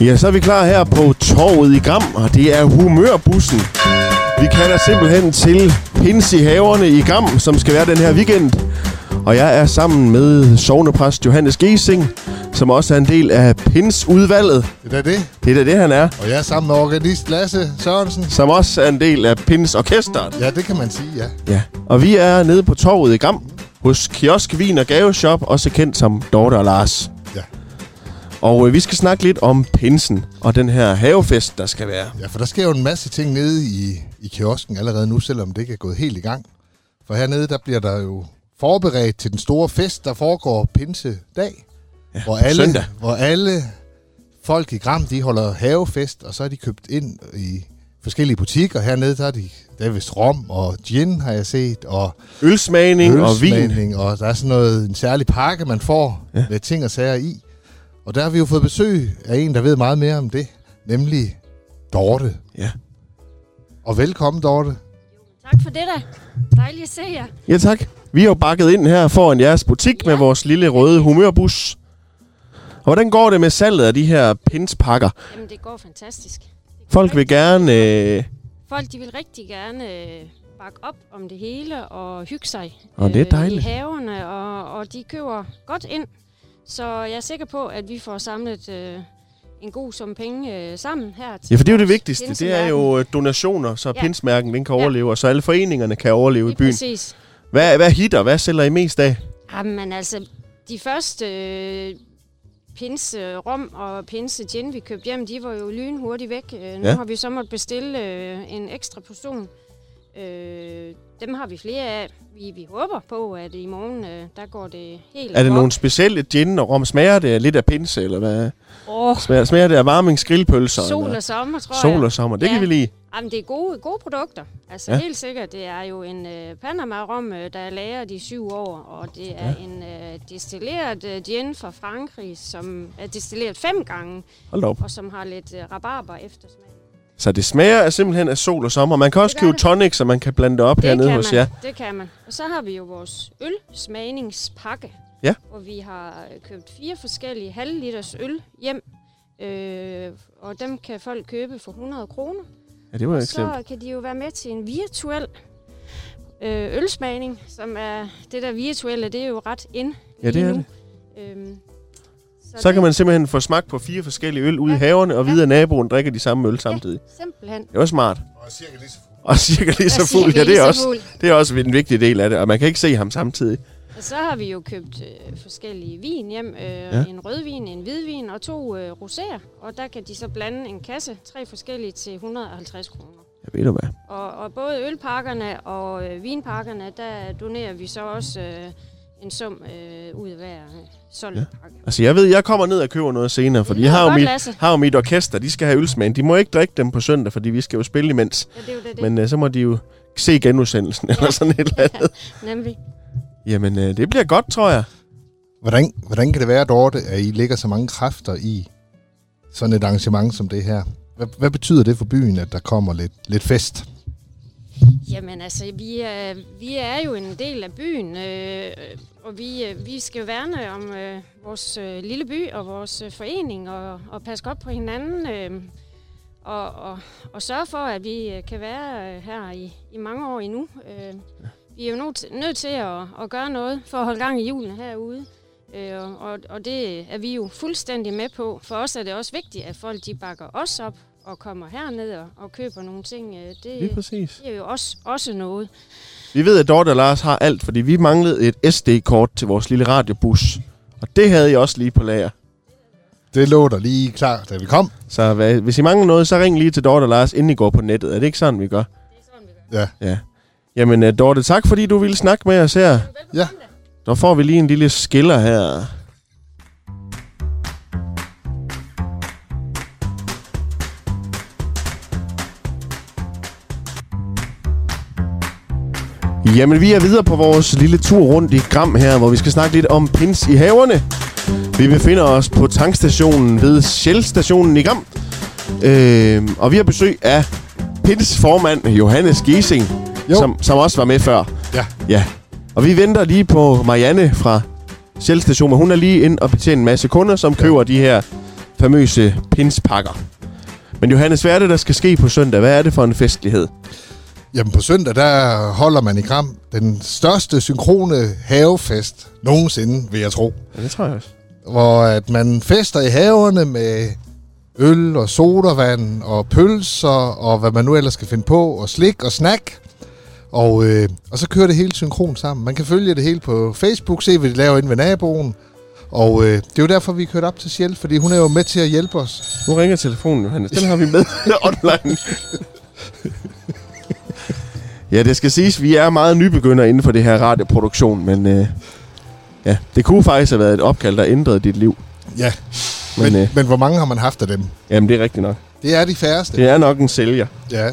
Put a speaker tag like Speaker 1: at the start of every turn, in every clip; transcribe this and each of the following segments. Speaker 1: Ja, så er vi klar her på torvet i Gram, og det er humørbussen. Vi kalder simpelthen til Pins i haverne i Gram, som skal være den her weekend. Og jeg er sammen med sovnepræst Johannes Gesing, som også er en del af Pins-udvalget.
Speaker 2: Det er det.
Speaker 1: Det er da det, han er.
Speaker 2: Og jeg er sammen med organist Lasse Sørensen.
Speaker 1: Som også er en del af Pins-orkestret.
Speaker 2: Ja, det kan man sige, ja.
Speaker 1: Ja. Og vi er nede på torvet i Gram, hos Kiosk Vin og Gaveshop, også kendt som Dorte og Lars.
Speaker 2: Ja.
Speaker 1: Og øh, vi skal snakke lidt om pinsen og den her havefest, der skal være.
Speaker 2: Ja, for der sker jo en masse ting nede i, i kiosken allerede nu, selvom det ikke er gået helt i gang. For hernede, der bliver der jo forberedt til den store fest, der foregår pinsedag. Ja, hvor alle,
Speaker 1: søndag.
Speaker 2: Hvor alle folk i Gram, de holder havefest, og så er de købt ind i forskellige butikker. Hernede, der er de, der er vist rom og gin, har jeg set, og
Speaker 1: Ølsmagning og vin.
Speaker 2: Ølsmagning, og der er sådan noget, en særlig pakke, man får ja. med ting og sager i. Og der har vi jo fået besøg af en, der ved meget mere om det, nemlig Dorte.
Speaker 1: Ja.
Speaker 2: Og velkommen, Dorte.
Speaker 3: Tak for det da. Dejligt at se jer.
Speaker 1: ja, tak. Vi har jo bakket ind her foran jeres butik ja. med vores lille røde humørbus. Og hvordan går det med salget af de her pinspakker?
Speaker 3: Jamen, det går fantastisk.
Speaker 1: Folk vil gerne... Øh...
Speaker 3: Folk, de vil rigtig gerne øh, bakke op om det hele og hygge sig. øh,
Speaker 1: Og det er
Speaker 3: I
Speaker 1: dejligt.
Speaker 3: haverne, og, og de køber godt ind. Så jeg er sikker på, at vi får samlet øh, en god sum penge øh, sammen her. Til
Speaker 1: Ja, for det er jo det
Speaker 3: vores
Speaker 1: vigtigste. Det er jo øh, donationer, så ja.
Speaker 3: Ja.
Speaker 1: pinsmærken den kan
Speaker 3: Ja.
Speaker 1: overleve, og så alle foreningerne kan overleve i
Speaker 3: Lige
Speaker 1: byen.
Speaker 3: præcis.
Speaker 1: Hvad, hvad hitter? Hvad sælger I mest af?
Speaker 3: Jamen altså, de første øh, pinse rom og pinse gin, vi købte hjem, de var jo lynhurtigt væk. Øh, nu
Speaker 1: Ja.
Speaker 3: ja. har vi så måttet bestille øh, en ekstra portion. Øh, dem har vi flere af. Vi, vi håber på, at i morgen, øh, der går det helt
Speaker 1: Er det
Speaker 3: op.
Speaker 1: nogle specielle gin og rom? Smager det lidt af pinse, eller hvad?
Speaker 3: Åh,
Speaker 1: Smager, smager det af varmings grillpølser?
Speaker 3: sol
Speaker 1: eller?
Speaker 3: og sommer, tror
Speaker 1: Sol
Speaker 3: jeg.
Speaker 1: og sommer, det ja.
Speaker 3: Ja.
Speaker 1: kan vi lide.
Speaker 3: Jamen, det er gode, gode produkter. Altså,
Speaker 1: Ja.
Speaker 3: ja. helt sikkert. Det er jo en øh, Panama-rom, øh, der er lagret i syv år, og det er ja. en øh, destilleret øh, gin fra Frankrig, som er destilleret fem gange,
Speaker 1: Hold da op.
Speaker 3: og som har lidt øh, rabarber eftersmag.
Speaker 1: Så det smager af simpelthen af sol og sommer. Man kan også
Speaker 3: gør
Speaker 1: købe
Speaker 3: det.
Speaker 1: tonic, så man kan blande det op
Speaker 3: Det
Speaker 1: hernede
Speaker 3: kan
Speaker 1: hos
Speaker 3: man,
Speaker 1: jer.
Speaker 3: det kan man. Og så har vi jo vores ølsmagningspakke,
Speaker 1: Ja.
Speaker 3: hvor vi har øh, købt fire forskellige halvliters øl hjem, øh, og dem kan folk købe for 100 kroner.
Speaker 1: Ja, det var ikke slemt.
Speaker 3: Så kan de jo være med til en virtuel øh, ølsmagning, som er det der virtuelle, det er jo ret ind
Speaker 1: Ja, det
Speaker 3: lige
Speaker 1: er
Speaker 3: nu.
Speaker 1: det.
Speaker 3: Øhm,
Speaker 1: Så kan man simpelthen få smagt på fire forskellige øl ude i
Speaker 3: Ja.
Speaker 1: haverne, og
Speaker 3: Ja.
Speaker 1: vide, at naboen drikker de samme øl samtidig.
Speaker 3: simpelthen...
Speaker 1: Det var smart.
Speaker 2: Og cirka lige så
Speaker 1: Og cirka lige så
Speaker 3: Jeg siger,
Speaker 1: fuld. Ja,
Speaker 3: vi
Speaker 1: det er
Speaker 3: så
Speaker 1: også,
Speaker 3: fuld.
Speaker 1: det er også en vigtig del af det. Og man kan ikke se ham samtidig.
Speaker 3: Og så har vi jo købt øh, forskellige vin hjem. Øh,
Speaker 1: Ja.
Speaker 3: ja. En rødvin, en hvidvin og to øh, roséer. Og der kan de så blande en kasse, tre forskellige til 150 kroner.
Speaker 1: Jeg ved du hvad.
Speaker 3: Og, og både ølpakkerne og øh, vinpakkerne, der donerer vi så også øh, en sum øh, ud af hver øh, solgt
Speaker 1: Ja.
Speaker 3: ja. pakke.
Speaker 1: Altså, jeg ved, jeg kommer ned og køber noget senere, fordi
Speaker 3: lyder
Speaker 1: jeg har jo,
Speaker 3: godt,
Speaker 1: mit,
Speaker 3: Lasse.
Speaker 1: har jo mit orkester. De skal have ølsmagen. De må ikke drikke dem på søndag, fordi vi skal jo spille imens.
Speaker 3: Ja, det er jo det, det
Speaker 1: Men øh, så må de jo se genudsendelsen eller sådan et eller andet.
Speaker 3: nemlig.
Speaker 1: Jamen, øh, det bliver godt, tror jeg.
Speaker 2: Hvordan, hvordan kan det være, Dorte, at I lægger så mange kræfter i sådan et arrangement som det her? Hvad, hvad betyder det for byen, at der kommer lidt, lidt fest?
Speaker 3: Jamen altså, vi er, vi er jo en del af byen, øh, og vi, øh, vi skal jo værne om øh, vores øh, lille by og vores øh, forening og, og passe godt på hinanden øh, og, og, og sørge for, at vi øh, kan være øh, her i, i mange år endnu. Øh, vi er jo nødt, nødt til at, at gøre noget for at holde gang i julen herude, øh, og- og, og det er vi jo fuldstændig med på. For os er det også vigtigt, at folk de bakker os op og kommer herned og, og køber nogle ting. Øh, det,
Speaker 1: Lige præcis.
Speaker 3: det er jo også, også noget.
Speaker 1: Vi ved, at Dorte og Lars har alt, fordi vi manglede et SD-kort til vores lille radiobus. Og det havde jeg også lige på lager.
Speaker 2: Det lå der lige klar, da vi kom.
Speaker 1: Så hvad, hvis I mangler noget, så ring lige til Dorte og Lars, inden I går på nettet. Er det ikke sådan, vi gør?
Speaker 2: Ja.
Speaker 1: Ja. Jamen, øh, Dorte, tak fordi du ville snakke med os her.
Speaker 2: Ja.
Speaker 1: Der får vi lige en lille skiller her. Jamen, vi er videre på vores lille tur rundt i Gram her, hvor vi skal snakke lidt om pins i haverne. Vi befinder os på tankstationen ved Shell-stationen i Gram. Øh, og vi har besøg af pins formand Johannes Giesing,
Speaker 2: Jo.
Speaker 1: som, som også var med før.
Speaker 2: Ja.
Speaker 1: Ja. Og vi venter lige på Marianne fra Shell Station, men hun er lige ind og betjener en masse kunder, som køber de her famøse pinspakker. Men Johannes, hvad er det, der skal ske på søndag? Hvad er det for en festlighed?
Speaker 2: Jamen på søndag, der holder man i Kram den største synkrone havefest nogensinde, vil jeg tro.
Speaker 1: Ja, det tror jeg også.
Speaker 2: Hvor at man fester i haverne med øl og sodavand og pølser og hvad man nu ellers skal finde på, og slik og snack. Og, øh, og så kører det hele synkron sammen. Man kan følge det hele på Facebook, se hvad de laver inde ved naboen. Og øh, det er jo derfor, vi er kørt op til Sjæl, fordi hun er jo med til at hjælpe os.
Speaker 1: Nu ringer telefonen, Johannes. Den har vi med online. ja, det skal siges, vi er meget nybegynder inden for det her radioproduktion, men øh, ja, det kunne faktisk have været et opkald, der ændrede dit liv.
Speaker 2: Ja,
Speaker 1: Men,
Speaker 2: men, men,
Speaker 1: øh,
Speaker 2: øh... men hvor mange har man haft af dem?
Speaker 1: Jamen, det er rigtigt nok.
Speaker 2: Det er de færreste.
Speaker 1: Det er nok en sælger.
Speaker 2: Ja.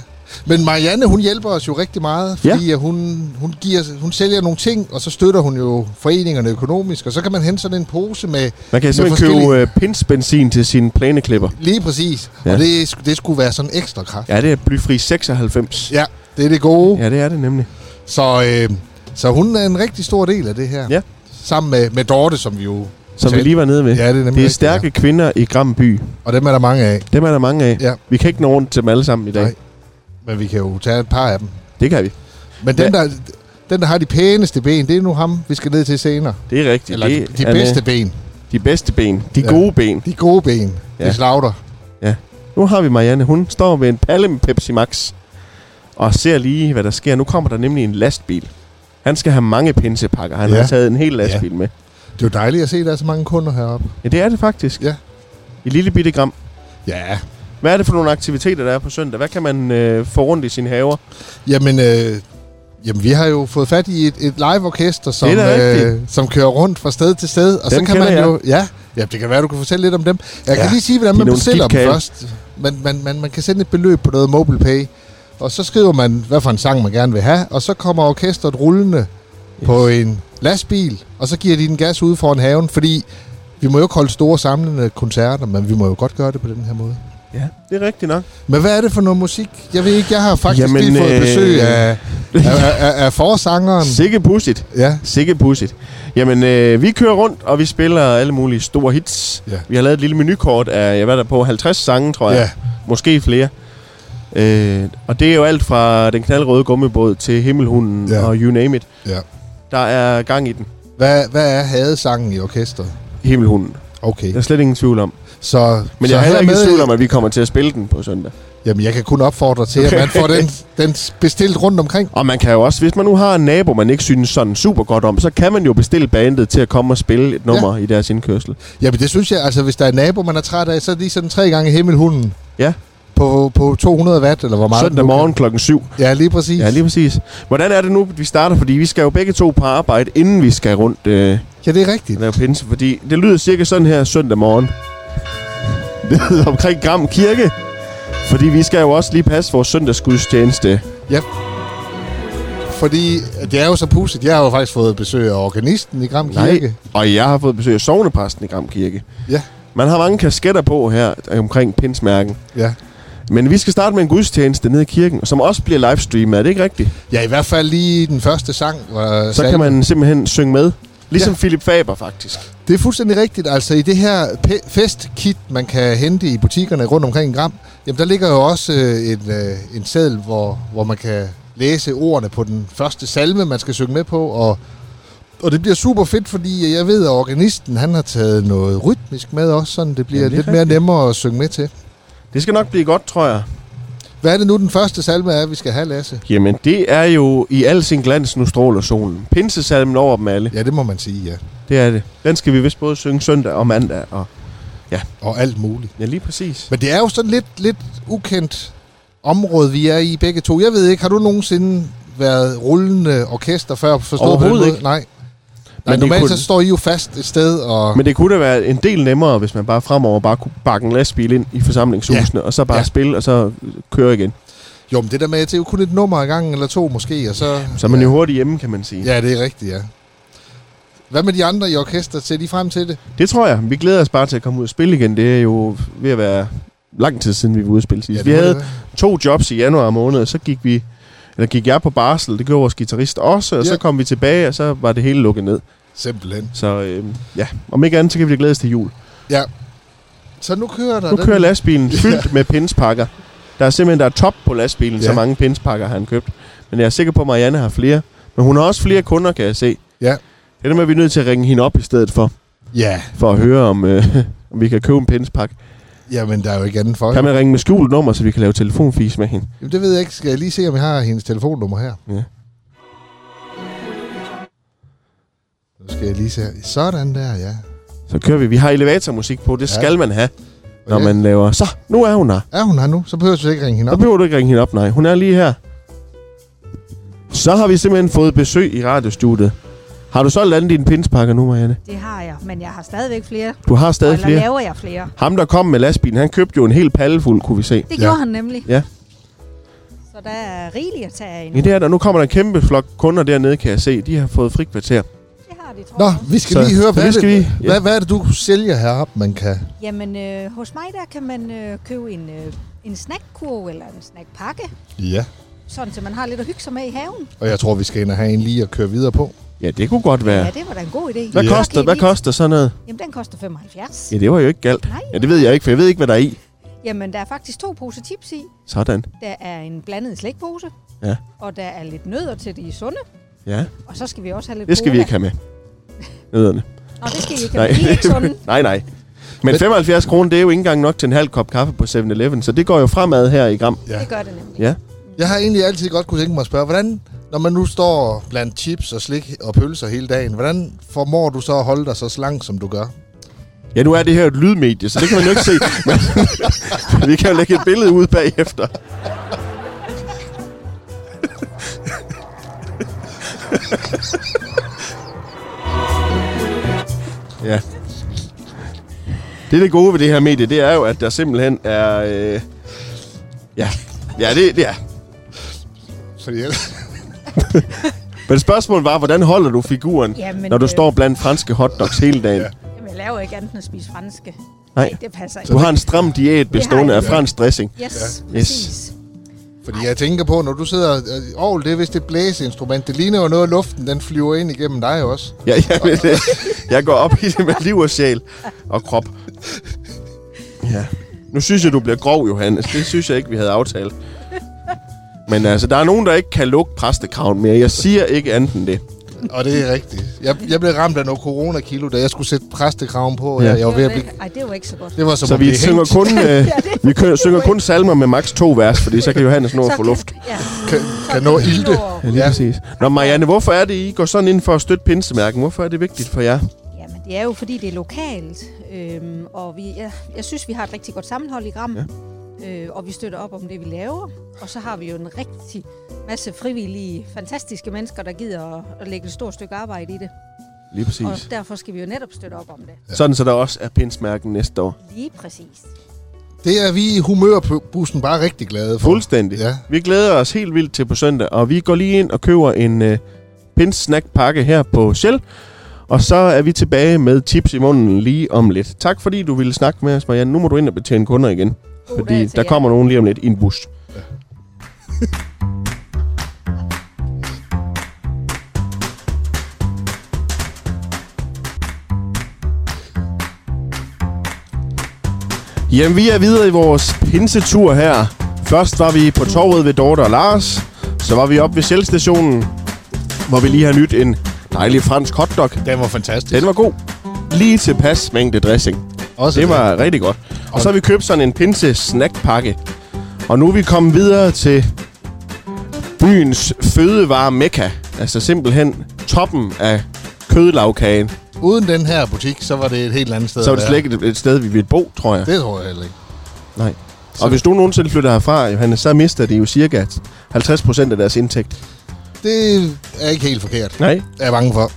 Speaker 2: Men Marianne, hun hjælper os jo rigtig meget, fordi ja. hun, hun, giver, hun sælger nogle ting, og så støtter hun jo foreningerne økonomisk, og så kan man hente sådan en pose med
Speaker 1: Man kan
Speaker 2: Med
Speaker 1: simpelthen købe øh, pinsbenzin til sine plæneklipper.
Speaker 2: lige præcis,
Speaker 1: Ja.
Speaker 2: ja. og det, sk- det skulle være sådan ekstra kraft.
Speaker 1: Ja, det er blyfri 96.
Speaker 2: Ja, det er det gode. Ja.
Speaker 1: Ja, det er det nemlig.
Speaker 2: Så, øh, så hun er en rigtig stor del af det her.
Speaker 1: Ja.
Speaker 2: Sammen med, med Dorte, som vi jo...
Speaker 1: Som vi
Speaker 2: talte-
Speaker 1: lige var nede ved.
Speaker 2: Ja, det er nemlig
Speaker 1: det er
Speaker 2: rigtigt,
Speaker 1: stærke kvinder i Gramby.
Speaker 2: Og dem er der mange af,
Speaker 1: Dem er der mange af.
Speaker 2: Ja.
Speaker 1: Vi kan ikke nå rundt til dem alle sammen i dag.
Speaker 2: Nej. men vi kan jo tage et par af dem.
Speaker 1: Det kan vi.
Speaker 2: Men den, der, den, der har de pæneste ben, det er nu ham, vi skal ned til senere.
Speaker 1: Det er rigtigt.
Speaker 2: Eller de,
Speaker 1: det
Speaker 2: de
Speaker 1: er med-
Speaker 2: bedste ben.
Speaker 1: De bedste ben. De
Speaker 2: Ja.
Speaker 1: gode ben.
Speaker 2: De gode ben.
Speaker 1: Ja.
Speaker 2: Ja. Det slagter.
Speaker 1: Nu har vi Marianne. Hun står ved en palle med Pepsi Max. Og ser lige, hvad der sker. Nu kommer der nemlig en lastbil. Han skal have mange pinsepakker. Han
Speaker 2: Ja.
Speaker 1: har taget en hel lastbil med.
Speaker 2: Det er jo dejligt at se, at der er så mange kunder heroppe.
Speaker 1: Ja, det er det faktisk.
Speaker 2: Ja.
Speaker 1: I lille bitte gram.
Speaker 2: Ja.
Speaker 1: Hvad er det for nogle aktiviteter, der er på søndag? Hvad kan man øh, få rundt i sine haver?
Speaker 2: Jamen, øh, jamen, vi har jo fået fat i et, et live-orkester, som,
Speaker 1: Det er da rigtigt.
Speaker 2: øh, som kører rundt fra sted til sted. Og
Speaker 1: Dem
Speaker 2: så kan man
Speaker 1: kender jeg.
Speaker 2: jo... Ja, ja, det kan være, du kan fortælle lidt om dem. Jeg
Speaker 1: Ja,
Speaker 2: kan lige sige,
Speaker 1: de
Speaker 2: hvordan
Speaker 1: er
Speaker 2: man
Speaker 1: nogle
Speaker 2: bestiller dem
Speaker 1: skidtkage.
Speaker 2: først. Man, man, man, man kan sende et beløb på noget MobilePay, og så skriver man, hvad for en sang man gerne vil have, og så kommer orkestret rullende yes. på en lastbil, og så giver de den gas ude foran haven, fordi vi må jo ikke holde store samlende koncerter, men vi må jo godt gøre det på den her måde.
Speaker 1: Ja, det er rigtigt nok.
Speaker 2: Men hvad er det for noget musik? Jeg ved ikke, jeg har faktisk
Speaker 1: Jamen,
Speaker 2: Jamen, lige fået
Speaker 1: øh,
Speaker 2: besøg af, af, af, af, af forsangeren.
Speaker 1: Sikke pudsigt.
Speaker 2: Ja,
Speaker 1: Sikke pudsigt. Jamen, øh, vi kører rundt, og vi spiller alle mulige store hits.
Speaker 2: Ja.
Speaker 1: Vi har lavet et lille menukort af, jeg var der på 50 sange, tror jeg.
Speaker 2: ja,
Speaker 1: Måske flere. Øh, og det er jo alt fra den knaldrøde gummibåd til Himmelhunden ja.
Speaker 2: Ja.
Speaker 1: og you name it.
Speaker 2: ja.
Speaker 1: Der er gang i den.
Speaker 2: Hvad, hvad er hadesangen i orkestret?
Speaker 1: Himmelhunden.
Speaker 2: Okay,
Speaker 1: Der er slet ingen tvivl om.
Speaker 2: så...
Speaker 1: Men
Speaker 2: så
Speaker 1: jeg er heller ikke i
Speaker 2: hermed-
Speaker 1: tvivl om, at vi kommer til at spille den på søndag.
Speaker 2: Jamen, jeg kan kun opfordre til, at man får den, den bestilt rundt omkring.
Speaker 1: Og man kan jo også, hvis man nu har en nabo, man ikke synes sådan super godt om, så kan man jo bestille bandet til at komme og spille et nummer ja. i deres indkørsel.
Speaker 2: Jamen, det synes jeg, altså, hvis der er en nabo, man er træt af, så er det lige sådan tre gange himmelhunden.
Speaker 1: Ja.
Speaker 2: På, på 200 watt, eller hvor meget? den
Speaker 1: Søndag
Speaker 2: nu kan-
Speaker 1: morgen klokken 7.
Speaker 2: Ja, lige præcis.
Speaker 1: Ja, lige præcis. Hvordan er det nu, vi starter? Fordi vi skal jo begge to på arbejde, inden vi skal rundt øh,
Speaker 2: ja det er rigtigt.
Speaker 1: og lave pinse. Fordi det lyder cirka sådan her søndag morgen. Det lyder omkring Gram Kirke. Fordi vi skal jo også lige passe vores søndagsgudstjeneste.
Speaker 2: Fordi det er jo så pudsigt. Jeg har jo faktisk fået besøg af organisten i Gram Kirke.
Speaker 1: Nej, og jeg har fået besøg af sovnepræsten i Gram Kirke.
Speaker 2: Ja.
Speaker 1: Man har mange kasketter på her øh, omkring pinsmærken.
Speaker 2: Ja.
Speaker 1: Men vi skal starte med en gudstjeneste nede i kirken, som også bliver livestreamet. Er det ikke rigtigt?
Speaker 2: Ja, i hvert fald lige den første sang. Var
Speaker 1: Så kan man simpelthen synge med. Ligesom ja.
Speaker 2: Ja.
Speaker 1: Philip Faber, faktisk.
Speaker 2: Det er fuldstændig rigtigt. Altså i det her pe- festkit, man kan hente i butikkerne rundt omkring i Gram, jamen der ligger jo også øh, en, øh, en seddel, hvor, hvor man kan læse ordene på den første salme, man skal synge med på. Og, og det bliver super fedt, fordi jeg ved, at organisten han har taget noget rytmisk med også, sådan det bliver
Speaker 1: Jamen,
Speaker 2: jamen,
Speaker 1: det
Speaker 2: det
Speaker 1: er
Speaker 2: lidt mere
Speaker 1: rigtigt.
Speaker 2: nemmere at synge med til.
Speaker 1: Det skal nok blive godt, tror jeg.
Speaker 2: Hvad er det nu, den første salme er, vi skal have, Lasse?
Speaker 1: Jamen, det er jo i al sin glans, nu stråler solen. Pinsesalmen over dem alle.
Speaker 2: Ja, det må man sige, ja.
Speaker 1: Det er det. Den skal vi vist både synge søndag og mandag. Og...
Speaker 2: Og alt muligt.
Speaker 1: Ja, lige præcis.
Speaker 2: Men det er jo sådan lidt, lidt ukendt område, vi er i begge to. Jeg ved ikke, har du nogensinde været rullende orkester før? Forstået
Speaker 1: Overhovedet
Speaker 2: på den måde?
Speaker 1: ikke.
Speaker 2: Nej.
Speaker 1: Men
Speaker 2: Men
Speaker 1: det
Speaker 2: normalt
Speaker 1: kunne-
Speaker 2: så står I jo fast et sted, og...
Speaker 1: Men det kunne da være en del nemmere, hvis man bare fremover bare kunne bakke en lastbil ind i forsamlingshusene, ja. og så bare ja.
Speaker 2: Ja.
Speaker 1: spille, og så øh, køre igen.
Speaker 2: Jo, men det der med, at det er jo kun et nummer ad gangen, eller to måske, og så...
Speaker 1: Så er man jo hurtigt hjemme, kan man sige.
Speaker 2: Ja, det er rigtigt, ja. Hvad med de andre i orkestret? Ser de frem til det?
Speaker 1: Det tror jeg. Vi glæder os bare til at komme ud og spille igen. Det er jo ved at være lang tid siden, vi var ude at spille sidst. Ja,
Speaker 2: det
Speaker 1: vi
Speaker 2: må det
Speaker 1: havde
Speaker 2: være.
Speaker 1: to jobs i januar måned, og så gik vi eller gik jeg på barsel, det gjorde vores guitarist også, og ja.
Speaker 2: Ja.
Speaker 1: så kom vi tilbage, og så var det hele lukket ned. øhm,
Speaker 2: Simpelthen.
Speaker 1: Så øh, ja, om ikke andet, så kan vi glæde os til jul.
Speaker 2: Så nu kører der
Speaker 1: Nu
Speaker 2: den-
Speaker 1: kører lastbilen fyldt med pinspakker. Der er simpelthen der er top på lastbilen, ja. så
Speaker 2: Ja.
Speaker 1: mange pinspakker har han købt. Men jeg er sikker på, at Marianne har flere. Men hun har også flere kunder, kan jeg se.
Speaker 2: Ja.
Speaker 1: Det er det med, at vi er nødt til at ringe hende op i stedet for,
Speaker 2: Ja,
Speaker 1: for at høre, om, øh, om vi kan købe en pinspakke.
Speaker 2: jamen der er jo ikke andet for.
Speaker 1: Kan man ringe med skjult nummer, så vi kan lave telefonfis med hende?
Speaker 2: Jamen, det ved jeg ikke. Skal jeg lige se, om jeg har hendes telefonnummer her?
Speaker 1: Ja.
Speaker 2: Nu skal jeg lige se. her. Sådan der, ja.
Speaker 1: Så kører vi. Vi har elevatormusik på. Det
Speaker 2: Ja.
Speaker 1: skal man have, når
Speaker 2: Ja.
Speaker 1: man laver... Så, nu er hun her.
Speaker 2: Er hun her nu? Så behøver du ikke ringe hende
Speaker 1: Så
Speaker 2: op.
Speaker 1: behøver du ikke ringe hende op, nej. Hun er lige her. Så har vi simpelthen fået besøg i radiostudiet. Har du solgt alle dine pinspakker nu, Marianne?
Speaker 4: Det har jeg, men jeg har stadigvæk flere.
Speaker 1: Du har stadig
Speaker 4: Eller
Speaker 1: flere.
Speaker 4: laver jeg flere.
Speaker 1: Ham, der kom med lastbilen, han købte jo en hel pallefuld, kunne vi se.
Speaker 4: Det
Speaker 2: Ja.
Speaker 4: ja. gjorde han nemlig.
Speaker 1: Ja.
Speaker 4: Så der er rigeligt at tage af endnu.
Speaker 1: I det her, der, nu kommer der en kæmpe flok kunder dernede, kan jeg se. De har fået frikvarter.
Speaker 4: Det har de, tror
Speaker 2: Nå,
Speaker 4: jeg.
Speaker 2: vi skal
Speaker 1: Så-
Speaker 2: lige høre,
Speaker 1: så
Speaker 2: hvad,
Speaker 1: det skal
Speaker 2: er det,
Speaker 1: vi- ja.
Speaker 2: hvad, hvad er det, du sælger heroppe, man kan...
Speaker 4: Jamen, øh, hos mig der kan man øh, købe en, øh, en snackkurv eller en snackpakke,
Speaker 2: Ja.
Speaker 4: sådan så man har lidt at hygge sig med i haven.
Speaker 2: Og jeg tror, vi skal ind og have en lige at køre videre på.
Speaker 1: Ja, det kunne godt
Speaker 4: Ja,
Speaker 1: være.
Speaker 4: ja det var da en god idé.
Speaker 1: Hvad,
Speaker 4: Så
Speaker 1: ja. koster,
Speaker 4: kan I
Speaker 1: hvad
Speaker 4: lige-
Speaker 1: koster sådan noget?
Speaker 4: Jamen, den koster 75.
Speaker 1: Ja, det var jo ikke galt.
Speaker 4: Nej.
Speaker 1: Ja, det ved jeg ikke, for jeg ved ikke, hvad der er i.
Speaker 4: Jamen, der er faktisk to poser chips i.
Speaker 1: Sådan.
Speaker 4: Der er en blandet slikpose,
Speaker 1: Ja.
Speaker 4: og der er lidt nødder til de sunde.
Speaker 1: Ja,
Speaker 4: Og så skal vi også have lidt
Speaker 1: det skal vi
Speaker 4: cola.
Speaker 1: ikke have med. Nødderne.
Speaker 4: Nå, det skal I ikke have. Nej. I er ikke sunde.
Speaker 1: nej, nej. Men
Speaker 2: Men-
Speaker 1: 75 kroner, det er jo ikke engang nok til en halv kop kaffe på 7-Eleven, så det går jo fremad her i Gram.
Speaker 2: Ja.
Speaker 4: Det gør det nemlig.
Speaker 1: Ja.
Speaker 2: Jeg har egentlig altid godt kunne tænke mig at spørge, hvordan, når man nu står blandt chips og slik og pølser hele dagen, hvordan formår du så at holde dig så slank, som du gør?
Speaker 1: Ja, nu er det her et lydmedie, så det kan man jo ikke se. Men vi kan jo lægge et billede ud bagefter. ja. Det, det gode ved det her medie, det er jo, at der simpelthen er... Øh, ja, ja det, det er.
Speaker 2: Fordi ellers-
Speaker 1: Men spørgsmålet var, hvordan holder du figuren,
Speaker 4: Jamen,
Speaker 1: når du
Speaker 4: øh,
Speaker 1: står blandt franske hotdogs hele dagen?
Speaker 4: Jamen, jeg laver ikke andet end at spise franske.
Speaker 1: Nej.
Speaker 4: det passer ikke.
Speaker 1: Du har en stram diæt bestående af
Speaker 4: jeg.
Speaker 1: fransk dressing.
Speaker 4: Yes, ja.
Speaker 1: Yes.
Speaker 4: præcis.
Speaker 2: fordi jeg tænker på, når du sidder... øh, Orgel, det er vist et blæseinstrument. Det ligner jo noget af luften, den flyver ind igennem dig også.
Speaker 1: Ja, jeg, ved det. jeg går op i det med liv og sjæl og krop. Ja. Nu synes jeg, du bliver grov, Johannes. Det synes jeg ikke, vi havde aftalt. Men altså, der er nogen, der ikke kan lukke præstekraven mere. Jeg siger ikke andet end det.
Speaker 2: Og det er rigtigt. Jeg, jeg blev ramt af noget coronakilo, da jeg skulle sætte præstekraven på.
Speaker 1: Ja.
Speaker 2: Ja. Jeg, jeg var ved at
Speaker 4: Det var
Speaker 2: blive...
Speaker 4: ikke- Ej, det var ikke så godt.
Speaker 2: Det var som
Speaker 1: Så
Speaker 2: at
Speaker 1: vi
Speaker 2: blive
Speaker 1: synger
Speaker 2: hængt.
Speaker 1: kun, øh, vi kø- synger kun salmer med maks to vers, fordi så kan Johannes nå at få
Speaker 4: kan-
Speaker 1: luft.
Speaker 4: Ja,
Speaker 2: Kan, kan nå ilte.
Speaker 1: Ja, lige
Speaker 2: Ja.
Speaker 1: præcis. Nå, Marianne, hvorfor er det, I går sådan ind for at støtte pinsemærken? Hvorfor er det vigtigt for jer?
Speaker 4: Jamen, det er jo fordi, det er lokalt, øhm, og vi, ja, jeg synes, vi har et rigtig godt sammenhold i Gram, ja. øh, og vi støtter op om det, vi laver. Og så har vi jo en rigtig masse frivillige, fantastiske mennesker, der gider at, at lægge et stort stykke arbejde i det.
Speaker 1: Lige
Speaker 4: Og
Speaker 1: præcis.
Speaker 4: derfor skal vi jo netop støtte op om det.
Speaker 1: Sådan, så der også er pinsmærken næste år.
Speaker 4: Lige præcis.
Speaker 2: Det er vi i humørbussen bare rigtig glade for.
Speaker 1: Fuldstændig. Ja.
Speaker 2: Ja.
Speaker 1: Vi glæder os helt vildt til på søndag, og vi går lige ind og køber en øh, pins snack pakke her på Shell. Og så er vi tilbage med tips i munden lige om lidt. Tak fordi du ville snakke med os, Marianne. Nu må du ind og betjene kunder igen.
Speaker 4: God
Speaker 1: Fordi
Speaker 4: dag til
Speaker 1: der
Speaker 4: jer.
Speaker 1: kommer nogen lige om lidt i en bus. Jamen, vi er videre i vores pinsetur her. Først var vi på torvet ved Dorte og Lars. Så var vi oppe ved Sjælstationen, hvor vi lige har nyt en dejlig fransk hotdog.
Speaker 2: Den var fantastisk.
Speaker 1: Den var god. Lige tilpas mængde dressing.
Speaker 2: Også
Speaker 1: Det var rigtig godt. Og så har vi købt sådan en pinse snackpakke. Og nu er vi kommet videre til byens fødevare mekka. Altså simpelthen toppen af kødlavkagen.
Speaker 2: Uden den her butik, så var det et helt andet sted.
Speaker 1: Så er
Speaker 2: at
Speaker 1: det
Speaker 2: være.
Speaker 1: slet ikke et- et sted, vi ville bo, tror jeg.
Speaker 2: Det tror jeg heller ikke.
Speaker 1: Nej. Og hvis du nogensinde flytter herfra, Johannes, så mister de jo cirka 50% af deres indtægt.
Speaker 2: Det er ikke helt forkert.
Speaker 1: Nej.
Speaker 2: Jeg er bange for.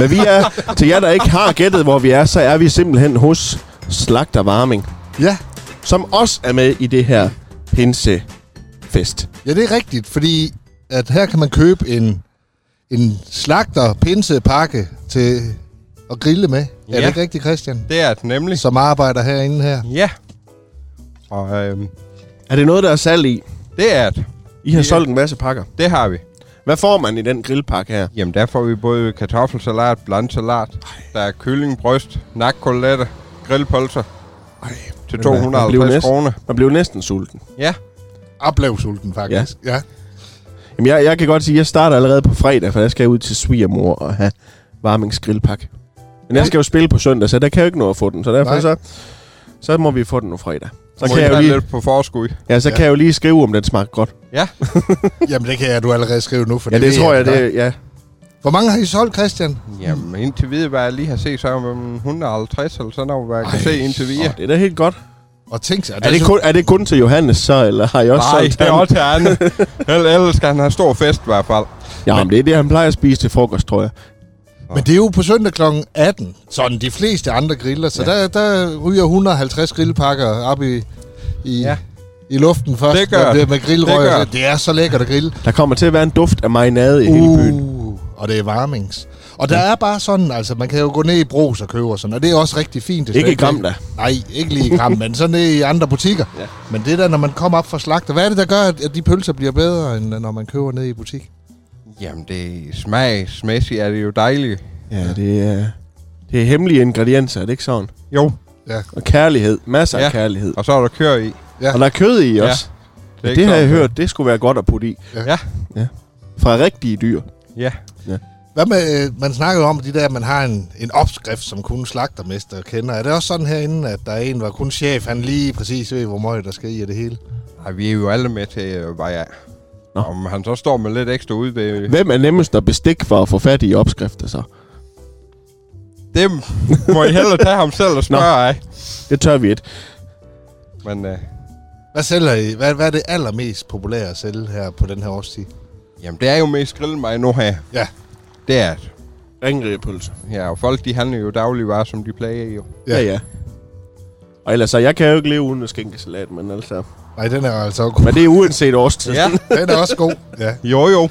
Speaker 1: Men vi er, til jer, der ikke har gættet, hvor vi er, så er vi simpelthen hos Slagter Varming,
Speaker 2: Ja,
Speaker 1: som også er med i det her pinsefest.
Speaker 2: ja det er rigtigt, fordi at her kan man købe en, en slagter pinsepakke til at grille med. Ja. Er
Speaker 5: Ja.
Speaker 2: det ikke rigtigt, Christian?
Speaker 5: Det er det nemlig.
Speaker 2: Som arbejder herinde her.
Speaker 5: Ja. Og øhm,
Speaker 1: Er det noget, der er salg i?
Speaker 5: det er det.
Speaker 1: I har
Speaker 5: Ja.
Speaker 1: solgt en masse pakker.
Speaker 5: Det har vi.
Speaker 1: Hvad får man i den grillpakke her?
Speaker 5: Jamen, der får vi både kartoffelsalat, blandsalat, der er kylling, bryst, nakkoteletter, grillpølser,
Speaker 2: Ej,
Speaker 5: til
Speaker 1: du hvad, jeg blev
Speaker 5: 250
Speaker 1: næsten-
Speaker 5: kroner.
Speaker 1: Man blev næsten sulten.
Speaker 5: Ja,
Speaker 2: jeg blev sulten faktisk. Ja. ja.
Speaker 1: Jamen, jeg, jeg kan godt sige, at jeg starter allerede på fredag, for der skal jeg ud til svigermor og have varmingsgrillpakke. Men jeg skal jo spille på søndag, så der kan jeg jo ikke nå at få den. Så derfor
Speaker 2: Nej.
Speaker 1: så, så må vi få den nu fredag. Så
Speaker 5: så
Speaker 1: kan, jeg jo lige,
Speaker 5: lidt på forskud.
Speaker 1: ja, så
Speaker 2: Ja.
Speaker 1: kan jeg jo lige skrive, om den smagte godt.
Speaker 2: Jamen, det kan jeg, du allerede skrive nu. For
Speaker 1: Ja, det
Speaker 2: ved
Speaker 1: tror jeg,
Speaker 2: at-
Speaker 1: det ja.
Speaker 2: Hvor mange har I solgt, Christian?
Speaker 5: Jamen, indtil videre, hvad jeg lige har set, så er man 150 eller sådan noget, hvad jeg kan
Speaker 2: Ej,
Speaker 5: se indtil videre.
Speaker 1: Åh, det er da helt godt.
Speaker 2: Og tænk sig,
Speaker 1: Er det, kun, er det kun til Johannes så, eller har jeg også
Speaker 5: Nej,
Speaker 1: solgt
Speaker 5: det er
Speaker 1: ham?
Speaker 5: også til andet. Eller- Ellers skal han have stor fest i hvert fald.
Speaker 1: Ja, men det er det, han plejer at spise til frokost, tror jeg.
Speaker 2: Men det er jo på søndag kl. 18, sådan de fleste andre griller, så ja. der, der ryger 150 grillpakker op i, i, ja.
Speaker 5: Ja.
Speaker 2: i luften først.
Speaker 5: Det gør
Speaker 2: når bliver
Speaker 5: det.
Speaker 2: med grillrøg.
Speaker 5: Det gør
Speaker 2: og så-
Speaker 5: det.
Speaker 2: det er så lækkert at grille.
Speaker 1: Der kommer til at være en duft af marinade i hele byen.
Speaker 2: og Uh, det er varmings. Og der er bare sådan, altså man kan jo gå ned i Bros og købe og sådan, og det er også rigtig fint. Det er
Speaker 1: Ikke i
Speaker 2: slet
Speaker 1: gram, da.
Speaker 2: Nej, ikke lige i Gram, men sådan ned i andre butikker. Ja. Men det der, når man kommer op fra slagter, hvad er det, der gør, at at de pølser bliver bedre, end øh, når man køber ned i butik?
Speaker 5: Jamen, det er smagsmæssigt er det jo dejligt.
Speaker 1: Ja, det er, det er hemmelige ingredienser, er det ikke sådan?
Speaker 5: Jo.
Speaker 1: Og kærlighed. Masser ja.
Speaker 5: Ja.
Speaker 1: af kærlighed.
Speaker 5: Og så er der kør i.
Speaker 1: Og der er kød i
Speaker 5: Ja.
Speaker 1: også.
Speaker 5: er
Speaker 1: Ja,
Speaker 5: ikke
Speaker 1: det har jeg
Speaker 5: sådan-
Speaker 1: hørt, det skulle være godt at putte i.
Speaker 5: Ja.
Speaker 1: ja. Fra rigtige dyr.
Speaker 5: Ja.
Speaker 2: Hvad med, øh, man snakkede om de der, at man har en, en opskrift, som kun slagtermester kender. Er det også sådan herinde, at der er en, hvor kun chef, han lige præcis ved, hvor meget der skal i af det hele?
Speaker 5: Ej, vi er jo alle med til, øh, hvad jeg
Speaker 1: Nå.
Speaker 5: Om han så står med lidt ekstra ud ved...
Speaker 1: Hvem er nemmest at bestikke for at få fat i opskrifter så?
Speaker 5: Det må I hellere tage ham selv og spørge af.
Speaker 1: Det tør vi et.
Speaker 5: Men øh,
Speaker 2: Hvad sælger I? Hvad, hvad er det allermest populære at sælge her på den her årstid?
Speaker 5: jamen, det er jo mest grillen mig nu her.
Speaker 2: Ja.
Speaker 5: Det er det.
Speaker 1: Ringrigepølse.
Speaker 5: Ja, og folk de handler jo dagligvarer, som de plejer jo.
Speaker 2: Ja.
Speaker 1: Ja. ja, ja. Og ellers så, jeg kan jo ikke leve uden at skænke salat, men altså...
Speaker 2: Nej, den er altså god.
Speaker 1: Men det er uanset årstid.
Speaker 5: Ja.
Speaker 2: Den er også god, ja.
Speaker 5: Jo, jo.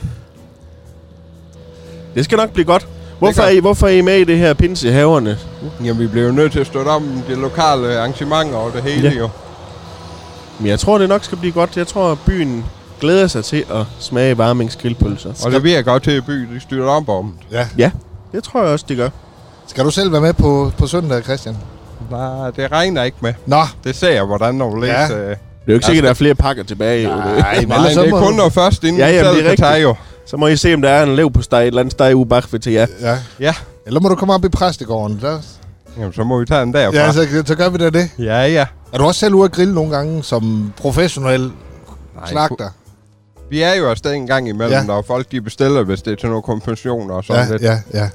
Speaker 1: Det skal nok blive godt. Hvorfor
Speaker 5: gør
Speaker 1: er, I, hvorfor er I med i det her pinse i haverne?
Speaker 5: Jamen, vi bliver jo nødt til at støtte om det lokale arrangement og det hele
Speaker 1: Ja.
Speaker 5: ja. jo.
Speaker 1: Men jeg tror, det nok skal blive godt. Jeg tror, at byen glæder sig til at smage varmings grillpølser.
Speaker 5: Og det virker godt til at by, de støtter op om. det.
Speaker 2: ja.
Speaker 1: Ja, det tror jeg også, det gør.
Speaker 2: Skal du selv være med på, på søndag, Christian?
Speaker 5: Nej, det regner ikke med.
Speaker 2: Nå,
Speaker 5: Det ser jeg, hvordan når du
Speaker 2: Ja.
Speaker 5: læser.
Speaker 1: Det
Speaker 5: Øh,
Speaker 1: er jo ikke sikkert, at der er flere pakker tilbage. jo. Det-
Speaker 2: Ej, men
Speaker 5: nej,
Speaker 2: ellers så
Speaker 5: det
Speaker 2: må
Speaker 5: er kun
Speaker 2: du-
Speaker 5: når først, inden
Speaker 1: Ja,
Speaker 5: ja,
Speaker 1: jamen,
Speaker 5: jamen,
Speaker 1: det
Speaker 5: selv
Speaker 1: er
Speaker 5: kan tage
Speaker 1: rigtigt.
Speaker 5: jo.
Speaker 1: altså- Så må I se, om der er en lev på steg, et eller andet steg uge bag til jer.
Speaker 2: ja.
Speaker 5: Ja,
Speaker 2: Eller må du komme op i præstegården? Der...
Speaker 5: jamen, så må vi tage den derfra.
Speaker 2: Ja, så, så gør vi da det.
Speaker 5: ja. ja.
Speaker 2: Er du også selv ude at grille nogle gange som professionel
Speaker 5: Nej,
Speaker 2: slagter?
Speaker 5: Vi er jo afsted en gang imellem,
Speaker 2: Ja.
Speaker 5: ja. og folk de bestiller, hvis det er til nogle konfirmationer og sådan
Speaker 2: Ja,
Speaker 5: lidt.
Speaker 2: ja, ja.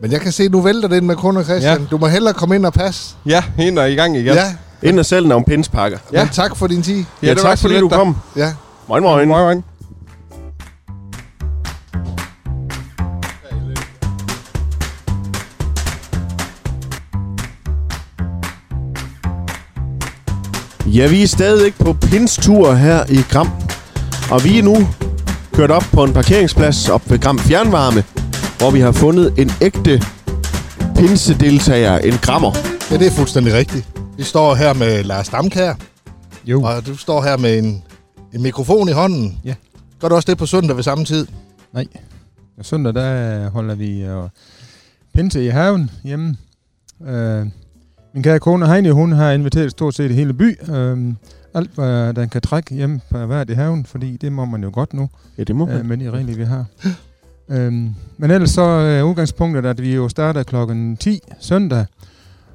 Speaker 2: Men jeg kan se, at du vælter det ind med kunder, Christian. Ja.
Speaker 5: Ja.
Speaker 2: Du må hellere komme ind og passe.
Speaker 5: Ja, hende er i gang igen.
Speaker 2: Ja,
Speaker 1: Ind og sælg nogle pinspakker.
Speaker 2: ja.
Speaker 5: Ja.
Speaker 2: Men tak for din tid.
Speaker 1: Ja, ja
Speaker 5: det var
Speaker 1: tak
Speaker 5: så
Speaker 1: fordi
Speaker 5: lidt,
Speaker 1: du
Speaker 5: da.
Speaker 1: kom.
Speaker 2: Ja.
Speaker 1: Moin, moin.
Speaker 5: Moin, moin.
Speaker 1: Ja, vi er stadigvæk på pinstur her i Gram. Og vi er nu kørt op på en parkeringsplads op ved Gram Fjernvarme, hvor vi har fundet en ægte pinsedeltager, en grammer.
Speaker 2: ja, det er fuldstændig rigtigt. Vi står her med Lars Damkær,
Speaker 5: Jo.
Speaker 2: og du står her med en, en mikrofon i hånden.
Speaker 6: Ja.
Speaker 2: Gør du også det på søndag ved samme tid?
Speaker 6: Nej. Og søndag, der øh, holder vi øh, pinse i haven hjemme. Øh, min kære kone Heine, hun har inviteret stort set hele by. Øh, alt, hvad den kan trække hjemme på hvert i haven, fordi det må man jo godt nu
Speaker 1: Ja, det må
Speaker 6: øh, med de regler, vi har. øhm, men ellers så er udgangspunktet, at vi jo starter klokken 10 søndag,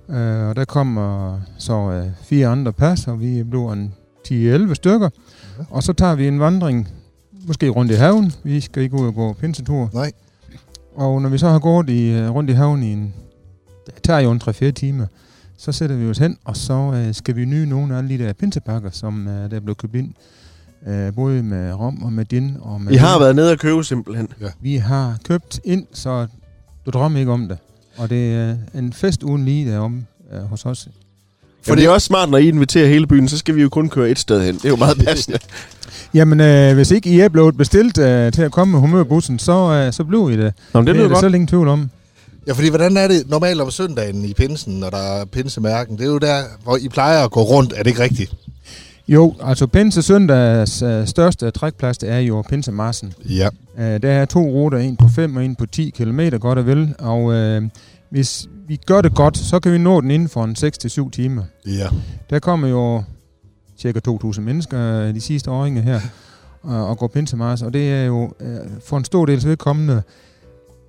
Speaker 6: øh, og der kommer så øh, fire andre pas, og vi bliver en 10-11 stykker,
Speaker 2: Ja.
Speaker 6: og så tager vi en vandring, måske rundt i haven. Vi skal ikke ud og gå pinsetur.
Speaker 2: Nej.
Speaker 6: Og når vi så har gået i, øh, rundt i haven i en, det tager jo en 3-4 timer, så sætter vi os hen, og så øh, skal vi nyde nogle af alle de der pinsepakker, som øh, der er blevet købt ind. Øh, både med rom og med gin. Og med
Speaker 1: I har været nede og købe simpelthen.
Speaker 6: vi har købt ind, så du drømmer ikke om det. Og det er øh, en fest uden lige derom øh, hos os.
Speaker 1: For det er også smart, når I inviterer hele byen, så skal vi jo kun køre et sted hen. Det er jo meget passende.
Speaker 6: Jamen, øh, hvis ikke I er blevet bestilt øh, til at komme med humørbussen, så, øh, så bliver I det.
Speaker 1: Nå, men det
Speaker 6: det er
Speaker 1: lyder
Speaker 6: der
Speaker 1: godt.
Speaker 6: selv ingen tvivl om.
Speaker 2: Ja, fordi hvordan er det normalt om søndagen i pinsen, når der er pinsemærken? Det er jo der, hvor I plejer at gå rundt, er det ikke rigtigt?
Speaker 6: Jo, altså Pinse Søndags øh, største trækplads det er jo Pinsemarsen.
Speaker 2: Ja.
Speaker 6: Øh, der er to ruter, en på 5 og en på 10 km, godt og vel. Og øh, hvis vi gør det godt, så kan vi nå den inden for en 6-7 timer.
Speaker 2: Ja.
Speaker 6: Der kommer jo cirka 2.000 mennesker øh, de sidste årringe her og, og går pinsemars, og det er jo øh, for en stor dels vedkommende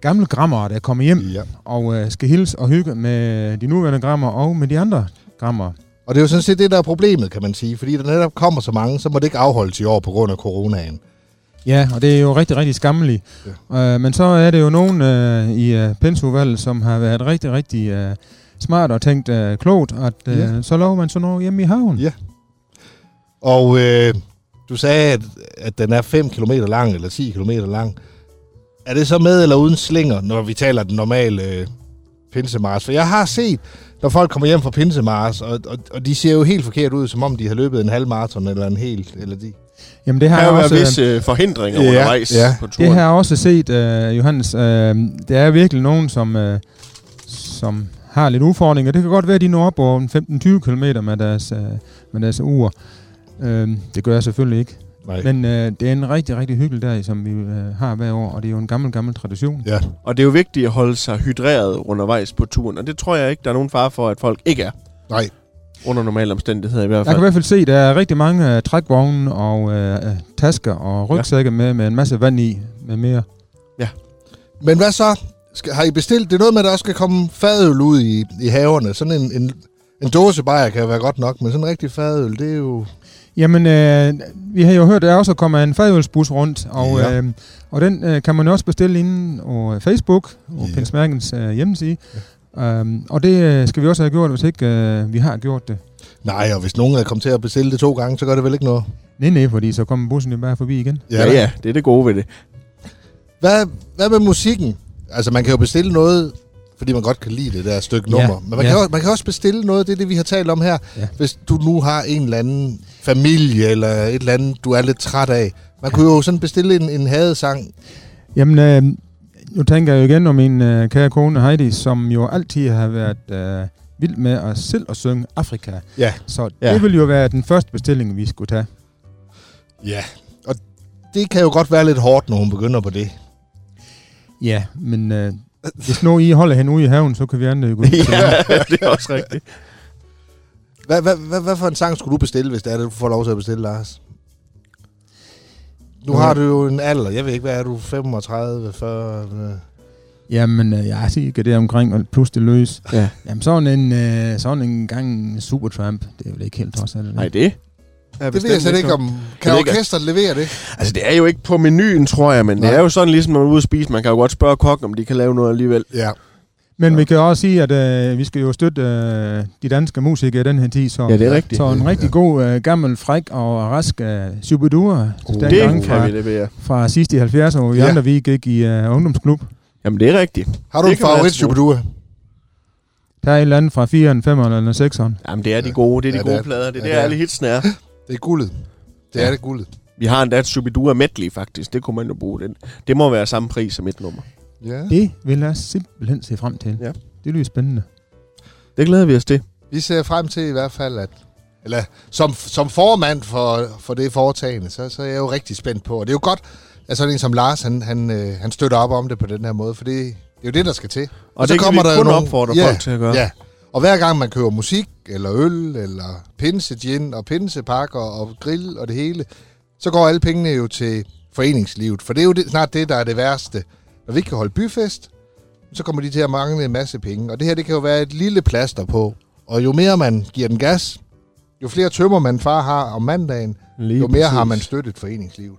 Speaker 6: gamle grammer, der kommer hjem
Speaker 2: ja.
Speaker 6: og øh, skal hilse og hygge med de nuværende grammer og med de andre grammer.
Speaker 2: Og det er jo sådan set det, der er problemet, kan man sige. Fordi der netop kommer så mange, så må det ikke afholdes i år på grund af coronaen.
Speaker 6: Ja, og det er jo rigtig, rigtig skammeligt. Ja. Øh, men så er det jo nogen øh, i øh, pensuvalget, som har været rigtig, rigtig øh, smart og tænkt øh, klogt, at øh,
Speaker 2: Ja.
Speaker 6: ja. så laver man sådan noget hjemme i haven.
Speaker 2: Ja. Og øh, du sagde, at, at den er 5 km lang eller 10 km lang. Er det så med eller uden slinger, når vi taler den normale øh, pinsemars? For jeg har set, når folk kommer hjem fra pinsemars, og, og, og de ser jo helt forkert ud, som om de har løbet en halv maraton eller en helt. Eller de.
Speaker 6: Jamen det har
Speaker 1: Der
Speaker 6: jeg
Speaker 1: har
Speaker 6: også...
Speaker 1: været visse øh, forhindringer
Speaker 2: Ja,
Speaker 1: ja, undervejs
Speaker 2: ja.
Speaker 1: ja. på
Speaker 6: Det
Speaker 1: turen.
Speaker 6: har jeg også set, øh, Johannes. Øh, der er virkelig nogen, som, øh, som har lidt udfordringer. Det kan godt være, at de når op over 15-20 km med deres, øh, med deres ur. Øh, det gør jeg selvfølgelig ikke.
Speaker 2: Nej.
Speaker 6: Men øh, det er en rigtig, rigtig hyggelig dag, som vi øh, har hver år, og det er jo en gammel, gammel tradition.
Speaker 2: Ja.
Speaker 1: Og det er jo vigtigt at holde sig hydreret undervejs på turen, og det tror jeg ikke, der er nogen far for, at folk ikke er.
Speaker 2: Nej.
Speaker 1: Under normale omstændigheder i hvert
Speaker 6: Jeg
Speaker 1: fald.
Speaker 6: kan i hvert fald se, at der er rigtig mange øh, trækvogne og øh, øh, tasker og rygsække ja. med, med en masse vand i, med mere.
Speaker 2: Men hvad så? Skal, har I bestilt? Det er noget med, at der også skal komme fadøl ud i, i haverne. Sådan en, en, en dåsebajer kan være godt nok, men sådan en rigtig fadøl, det er jo...
Speaker 6: Jamen, øh, vi har jo hørt, at der også kommer en fadølsbus rundt, og,
Speaker 2: Ja.
Speaker 6: ja. øh, og den øh, kan man jo også bestille inde på øh, Facebook og
Speaker 2: Ja.
Speaker 6: ja. Pinsmærkens øh, hjemmeside. Ja. Øhm, og det øh, skal vi også have gjort, hvis ikke øh, vi har gjort det.
Speaker 2: Nej, og hvis nogen er kommet til at bestille det to gange, så gør det vel ikke noget.
Speaker 6: Nej, nej, fordi så kommer bussen jo bare forbi igen.
Speaker 1: Ja, ja, det er det gode ved det.
Speaker 2: Hvad, hvad med musikken? Altså, man kan jo bestille noget, fordi man godt kan lide det der stykke
Speaker 6: Ja,
Speaker 2: nummer. Men man,
Speaker 6: ja.
Speaker 2: kan også, man kan også bestille noget, det er det, vi har talt om her.
Speaker 6: Ja.
Speaker 2: Hvis du nu har en eller anden familie, eller et eller andet, du er lidt træt af. Man kunne jo sådan bestille en, en hadesang.
Speaker 6: Jamen, øh, nu tænker jeg jo igen om min øh, kære kone Heidi, som jo altid har været øh, vild med at selv at synge Afrika.
Speaker 2: Ja.
Speaker 6: Så
Speaker 1: Ja.
Speaker 6: det ville jo være den første bestilling, vi skulle tage.
Speaker 2: Ja. Og det kan jo godt være lidt hårdt, når hun begynder på det.
Speaker 6: Ja, men øh, hvis nu I holder hende ude i haven, så kan vi andre jo gå ud. og synge.
Speaker 1: ja, det er også rigtigt.
Speaker 2: Hvad, hvad, hvad, hvad for en sang skulle du bestille, hvis det er det, du får lov til at bestille, Lars? Nu
Speaker 6: Nå.
Speaker 2: har du jo en alder. Jeg ved ikke, hvad er du? 35, 40? øh.
Speaker 6: Jamen, øh, jeg siger det omkring, og plus det løs.
Speaker 1: Ja.
Speaker 6: Jamen, sådan en, øh, sådan en gang en Supertramp, det er vel ikke helt også, er det?
Speaker 1: Nej, det er
Speaker 2: Det ved jeg slet ikke om. Kan
Speaker 1: Jeg ved ikke,
Speaker 2: orkestret levere det?
Speaker 1: Altså, det er jo ikke på menuen, tror jeg, men Nej.
Speaker 2: Nej.
Speaker 1: det er jo sådan, ligesom når man er ude at spise, man kan jo godt spørge kokken, om de kan lave noget alligevel.
Speaker 2: Ja.
Speaker 6: Men vi kan også sige, at øh, vi skal jo støtte øh, de danske musikere i den her tid, så,
Speaker 1: Ja, det er rigtigt.
Speaker 6: så en rigtig god, øh, gammel, fræk og rask øh, Shubidua,
Speaker 2: Uh,
Speaker 6: den
Speaker 1: Oh, det
Speaker 6: gang
Speaker 1: kan
Speaker 6: fra,
Speaker 1: vi levere.
Speaker 6: fra sidst i 70'erne, hvor vi
Speaker 2: Ja.
Speaker 6: ja. andre vi gik i øh, ungdomsklub.
Speaker 1: Jamen, det er rigtigt.
Speaker 2: Har du
Speaker 1: Det
Speaker 2: en
Speaker 1: kan man
Speaker 2: favorit,
Speaker 1: altid bruge.
Speaker 2: Shubidua?
Speaker 6: Der er et eller andet fra 4'eren, 5'eren eller 6'eren.
Speaker 1: Jamen, det er de gode, det er de
Speaker 2: Ja,
Speaker 1: gode
Speaker 2: det er-
Speaker 1: plader, det er
Speaker 2: ja,
Speaker 1: der,
Speaker 2: det er.
Speaker 1: alle hitsene er.
Speaker 2: Det er guldet. Det
Speaker 1: Ja.
Speaker 2: er det guldet.
Speaker 1: Vi har endda et Subidua medley, faktisk. Det kunne man jo bruge. Den. Det må være samme pris som et nummer.
Speaker 2: Ja.
Speaker 6: Det vil jeg simpelthen se frem til.
Speaker 1: Ja.
Speaker 6: Det lyder spændende.
Speaker 1: Det glæder vi os til.
Speaker 2: Vi ser frem til i hvert fald, at eller som, som formand for, for det foretagende, så, så er jeg jo rigtig spændt på. Og det er jo godt, at sådan en som Lars, han, han, øh, han støtter op om det på den her måde, for det, det er jo det, der skal til.
Speaker 1: Og det kan vi kun opfordre
Speaker 2: ja,
Speaker 1: folk til at gøre.
Speaker 2: Ja, og hver gang man køber musik, eller øl, eller pinse gin, og pinsepakker, og grill, og det hele, så går alle pengene jo til foreningslivet, for det er jo det, snart det, der er det værste. Når vi ikke kan holde byfest, så kommer de til at mangle en masse penge. Og det her, det kan jo være et lille plaster på. Og jo mere man giver den gas, jo flere tømmer man far har om mandagen,
Speaker 6: Lige
Speaker 2: jo mere har
Speaker 6: præcis.
Speaker 2: man støttet foreningslivet.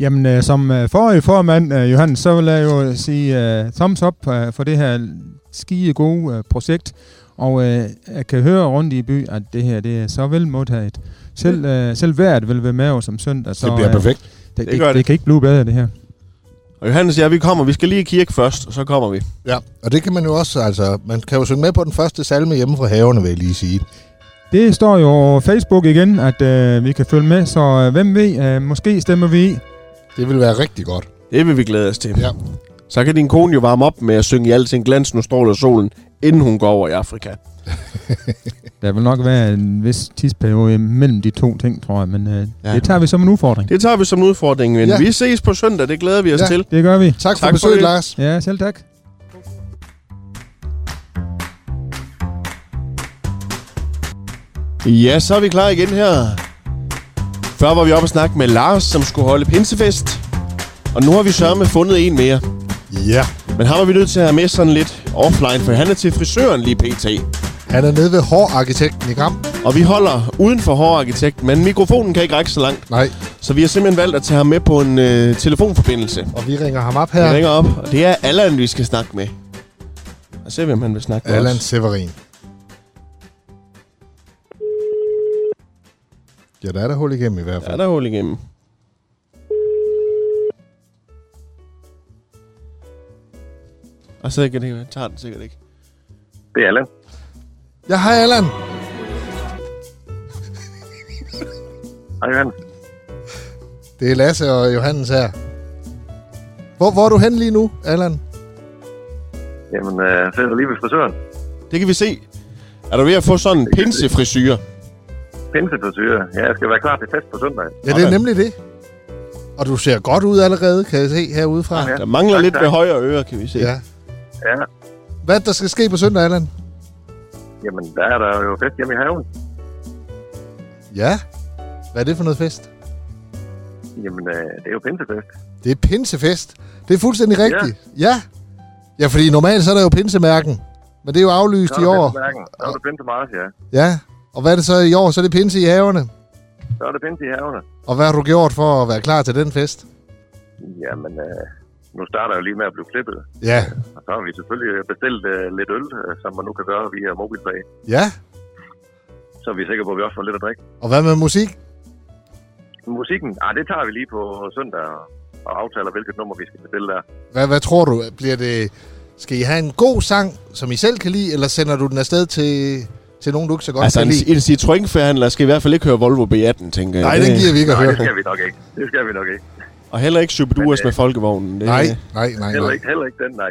Speaker 6: Jamen, øh, som øh, forrige formand, øh, Johan, så vil jeg jo sige øh, thumbs up øh, for det her skide gode øh, projekt. Og øh, jeg kan høre rundt i by, at det her det er så vel modtaget. Selv, øh, selv vejret vil være med os om søndag. Så, øh,
Speaker 2: perfekt.
Speaker 6: det, det,
Speaker 1: gør
Speaker 6: det.
Speaker 1: det.
Speaker 6: det kan ikke blive bedre, det her.
Speaker 1: Og Johannes og jeg, vi kommer. Vi skal lige i kirke først, og så kommer vi.
Speaker 2: Ja, og det kan man jo også, altså, man kan jo synge med på den første salme hjemme fra haverne, vil jeg lige sige.
Speaker 6: Det står jo over Facebook igen, at øh, vi kan følge med. Så øh, hvem ved, øh, måske stemmer vi i.
Speaker 2: Det vil være rigtig godt.
Speaker 1: Det vil vi glæde os til.
Speaker 2: Ja.
Speaker 1: Så kan din kone jo varme op med at synge i al sin glans, nu stråler solen, inden hun går over i Afrika.
Speaker 6: Der vil nok være en vis tidsperiode mellem de to ting, tror jeg. Men øh,
Speaker 1: Ja.
Speaker 6: ja. det tager vi som en udfordring. Det,
Speaker 1: Det tager vi som en udfordring, men
Speaker 2: Ja.
Speaker 1: ja. vi ses på søndag. Det glæder vi os
Speaker 2: Ja.
Speaker 1: ja. til.
Speaker 6: det gør vi.
Speaker 2: Tak for
Speaker 1: Tak for
Speaker 2: besøget,
Speaker 1: det.
Speaker 2: Lars.
Speaker 6: Ja, selv tak.
Speaker 1: Ja, så er vi klar igen her. Før var vi oppe og snakke med Lars, som skulle holde pinsefest. Og nu har vi sørme fundet en mere.
Speaker 2: Ja.
Speaker 1: Men ham er vi nødt til at have med sådan lidt offline, for han er til frisøren lige pt.
Speaker 2: Han er nede ved hårarkitekten i Gram.
Speaker 1: Og vi holder uden for hårarkitekt, men mikrofonen kan ikke række så langt.
Speaker 2: Nej,
Speaker 1: Så vi har simpelthen valgt at tage ham med på en øh, telefonforbindelse.
Speaker 2: og vi ringer ham op
Speaker 1: Ja.
Speaker 2: her.
Speaker 1: Jeg ringer op, og det er Allan, vi skal snakke med. Og se, hvem han vil snakke med
Speaker 2: Allan
Speaker 1: os.
Speaker 2: Severin. Ja, der er der hul igennem i hvert
Speaker 1: Ja,
Speaker 2: fald.
Speaker 1: der er hul igennem. Og så kan det, jeg tager den sikkert ikke.
Speaker 7: Det er Allan.
Speaker 2: Ja, hej Allan.
Speaker 7: Hej, Johan.
Speaker 2: Det er Lasse og Johannes her. Hvor, hvor er du hen lige nu, Allan?
Speaker 7: Jamen, øh, så er der lige ved frisøren.
Speaker 1: Det kan vi se. Er du ved at få sådan en pinsefrisyr?
Speaker 7: Pinsefrisyrer. Ja, jeg skal være klar til fest på søndag.
Speaker 2: Ja, det er
Speaker 1: Sådan.
Speaker 2: nemlig det. Og du ser godt ud allerede, kan jeg se herudefra.
Speaker 7: Ja.
Speaker 1: Der mangler
Speaker 7: Tak,
Speaker 1: lidt
Speaker 7: tak.
Speaker 1: ved højre øre, kan vi se.
Speaker 2: ja.
Speaker 7: Ja,
Speaker 2: Hvad er det, der skal ske på søndag, Allan?
Speaker 7: jamen, der er der jo fest hjemme i haven.
Speaker 2: Ja. Hvad er det for noget fest?
Speaker 7: Jamen, øh, det er jo pinsefest.
Speaker 2: Det er pinsefest. Det er fuldstændig rigtigt. Ja. Ja, ja fordi normalt så er der jo pinsemærken. Men det er jo aflyst i år.
Speaker 7: Så er det pinsemarsch, ja.
Speaker 2: Ja. Og hvad er det så i år? Så er det pinse i haverne.
Speaker 7: Så er det pinse i havene.
Speaker 2: Og hvad har du gjort for at være klar til den fest?
Speaker 7: Jamen, øh, nu starter jeg jo lige med at blive klippet.
Speaker 2: Ja.
Speaker 7: Og så har vi selvfølgelig bestilt øh, lidt øl, øh, som man nu kan gøre via mobilpay.
Speaker 2: Ja.
Speaker 7: Så er vi sikre på, at vi også får lidt at drikke.
Speaker 2: Og hvad med musik?
Speaker 7: Musikken, ah, det tager vi lige på søndag og, og aftaler, hvilket nummer vi skal bestille der.
Speaker 2: Hvad, hvad tror du? Bliver det... Skal I have en god sang, som I selv kan lide, eller sender du den afsted til, til nogen, du ikke så godt
Speaker 1: Altså,
Speaker 2: kan
Speaker 1: en,
Speaker 2: lide?
Speaker 1: en Citroën-forhandler skal i hvert fald ikke høre Volvo B18, tænker jeg.
Speaker 2: Nej, den giver vi ikke at
Speaker 7: Nej, det
Speaker 2: høre.
Speaker 7: skal vi nok ikke. Det skal vi nok ikke.
Speaker 1: Og heller ikke Superdures
Speaker 7: Men, øh,
Speaker 1: med folkevognen. Det,
Speaker 2: Nej, nej, nej,
Speaker 7: Heller
Speaker 2: nej.
Speaker 7: ikke, heller ikke den, nej.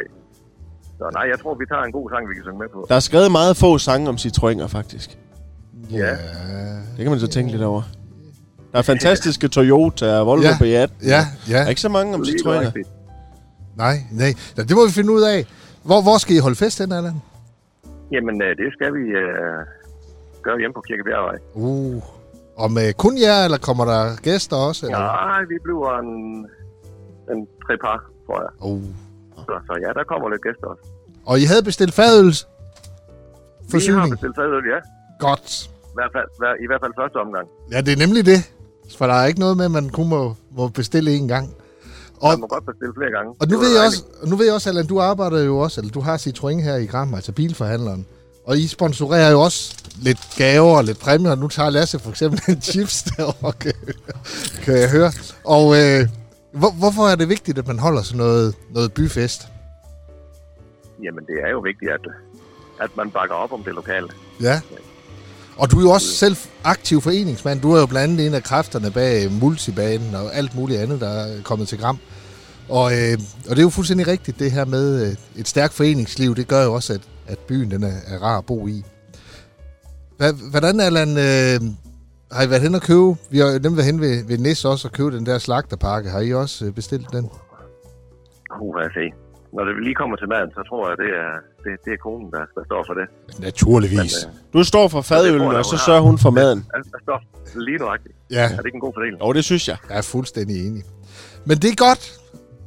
Speaker 7: Så nej, jeg tror, vi tager en god sang, vi kan synge med på.
Speaker 1: Der er skrevet meget få sange om Citroëner, faktisk.
Speaker 7: Ja.
Speaker 1: Det kan man så tænke lidt over. Der er fantastiske Toyota og Volvo
Speaker 2: Ja.
Speaker 1: B18.
Speaker 2: Ja,
Speaker 1: Der er
Speaker 2: ja,
Speaker 1: ikke så mange om
Speaker 7: Lige
Speaker 1: Citroëner.
Speaker 7: nøjagtigt.
Speaker 2: nej, nej. Nå, det må vi finde ud af. Hvor, hvor skal I holde fest hen, Allan?
Speaker 7: Jamen, øh, det skal vi øh, gøre hjemme på Kirkebjergvej.
Speaker 2: Uh. Og med kun jer, eller kommer der gæster også? Eller?
Speaker 7: Nej, vi bliver en, en tre par, tror jeg.
Speaker 2: Uh.
Speaker 7: Så, så ja, der kommer lidt gæster også.
Speaker 2: Og I havde bestilt fadøls
Speaker 7: Vi har
Speaker 2: forsyning?
Speaker 7: bestilt fadøl, ja.
Speaker 2: Godt.
Speaker 7: I hvert fald, hver, I hvert fald første omgang.
Speaker 2: Ja, det er nemlig det. For der er ikke noget med, at man kun må, må bestille én gang. Og,
Speaker 7: Man må godt bestille flere gange.
Speaker 2: Og
Speaker 7: Det
Speaker 2: nu
Speaker 7: var
Speaker 2: ved, jeg også,
Speaker 7: dejligt.
Speaker 2: og nu ved jeg også, Allan, du arbejder jo også, eller du har Citroën her i Gram, altså bilforhandleren. Og I sponsorerer jo også lidt gaver og lidt præmier. Nu tager Lasse for eksempel en chips derovre, kan, kan jeg høre. Og øh, hvor, hvorfor er det vigtigt, at man holder sådan noget, noget byfest?
Speaker 7: Jamen, det er jo vigtigt, at, at man bakker op om det lokale.
Speaker 2: Ja. Og du er jo også selv aktiv foreningsmand. Du er jo blandt andet en af kræfterne bag multibanen og alt muligt andet, der er kommet til Gram. Og, øh, og det er jo fuldstændig rigtigt, det her med øh, et stærkt foreningsliv, det gør jo også, at, at byen den er, er rar at bo i. Hva, hvordan, Allan, øh, har I været hen og købe? Vi har jo nemlig været hen ved, ved Nis også og købe den der slagterpakke. Har I også øh, bestilt den?
Speaker 7: Uh, hvad jeg se. Når det lige kommer til maden, så tror jeg, det er, det, det er konen, der, der står for det.
Speaker 2: Naturligvis.
Speaker 1: Du står for
Speaker 7: Det tror
Speaker 1: fadøllen,
Speaker 7: jeg,
Speaker 1: og så
Speaker 7: hun har.
Speaker 1: sørger hun for maden.
Speaker 7: Altså, der står lige nøjagtigt.
Speaker 2: Ja.
Speaker 7: Er det ikke en god fordeling?
Speaker 1: Jo, det synes jeg.
Speaker 2: Jeg er fuldstændig enig. Men det er godt,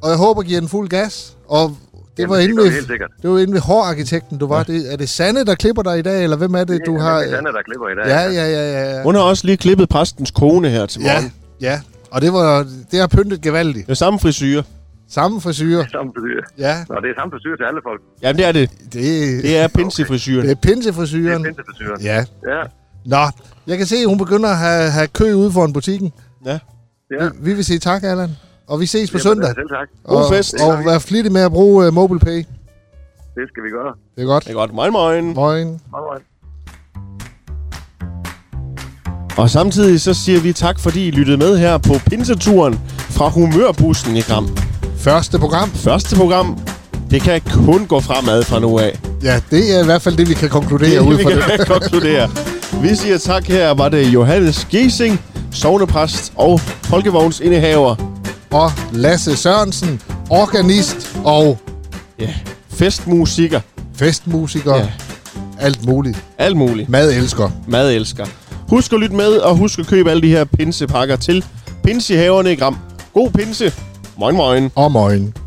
Speaker 2: og jeg håber, I giver den fuld gas. Og det
Speaker 7: Jamen,
Speaker 2: var
Speaker 7: det
Speaker 2: inde
Speaker 7: gør
Speaker 2: ved,
Speaker 7: vi helt sikkert.
Speaker 2: det var inde ved hårarkitekten, du var. Ja. Det, er det Sande, der klipper dig i dag, eller hvem er det, du har?
Speaker 7: Det er Sanne, der klipper i dag.
Speaker 2: Ja, ja, ja, ja. ja.
Speaker 1: Hun har også lige klippet præstens kone her til morgen.
Speaker 2: Ja, ja. Og det, var, det har pyntet gevaldigt.
Speaker 1: Det er samme frisyre.
Speaker 2: Samme frisyrer.
Speaker 7: Samme frisyr.
Speaker 2: Ja,
Speaker 7: Nå, det er samme frisyr til alle folk.
Speaker 1: Jamen, det er det.
Speaker 2: det,
Speaker 1: Det er pinsefrisyren.
Speaker 2: det er
Speaker 7: Det er
Speaker 2: pinsefrisyren.
Speaker 7: pinsefrisyren. Ja.
Speaker 2: Ja.
Speaker 7: ja.
Speaker 2: Nå, jeg kan se, at hun begynder at have, have kø ude foran butikken.
Speaker 1: Ja.
Speaker 7: Ja.
Speaker 2: Vi, vi vil sige tak, Allan. Og vi ses på
Speaker 7: Jamen,
Speaker 2: søndag.
Speaker 7: Selv tak.
Speaker 1: God
Speaker 2: Og,
Speaker 1: fest.
Speaker 2: og vær flittig med at bruge uh, MobilePay.
Speaker 7: Det skal vi gøre.
Speaker 2: Det er godt.
Speaker 1: Det er godt. Moin, moin.
Speaker 2: Moin.
Speaker 7: Meget, meget.
Speaker 1: Og samtidig så siger vi tak, fordi I lyttede med her på Pinseturen fra Humørbussen i Gram.
Speaker 2: Første program.
Speaker 1: Første program, det kan kun gå fremad fra nu af.
Speaker 2: Ja, det er i hvert fald det, vi kan konkludere ud
Speaker 1: vi
Speaker 2: fra det.
Speaker 1: kan konkludere. Vi siger tak her, var det Johannes Gesing, sovnepræst og folkevognsindehaver.
Speaker 2: Og Lasse Sørensen, organist og
Speaker 1: Ja, festmusiker,
Speaker 2: festmusiker.
Speaker 1: Ja.
Speaker 2: Ja. Alt muligt.
Speaker 1: alt muligt.
Speaker 2: Mad elsker.
Speaker 1: Madelsker. Husk at lytte med, og husk at købe alle de her pinsepakker til pinsehaverne i Gram. God pinse. Moin, moin.
Speaker 2: Og morgen.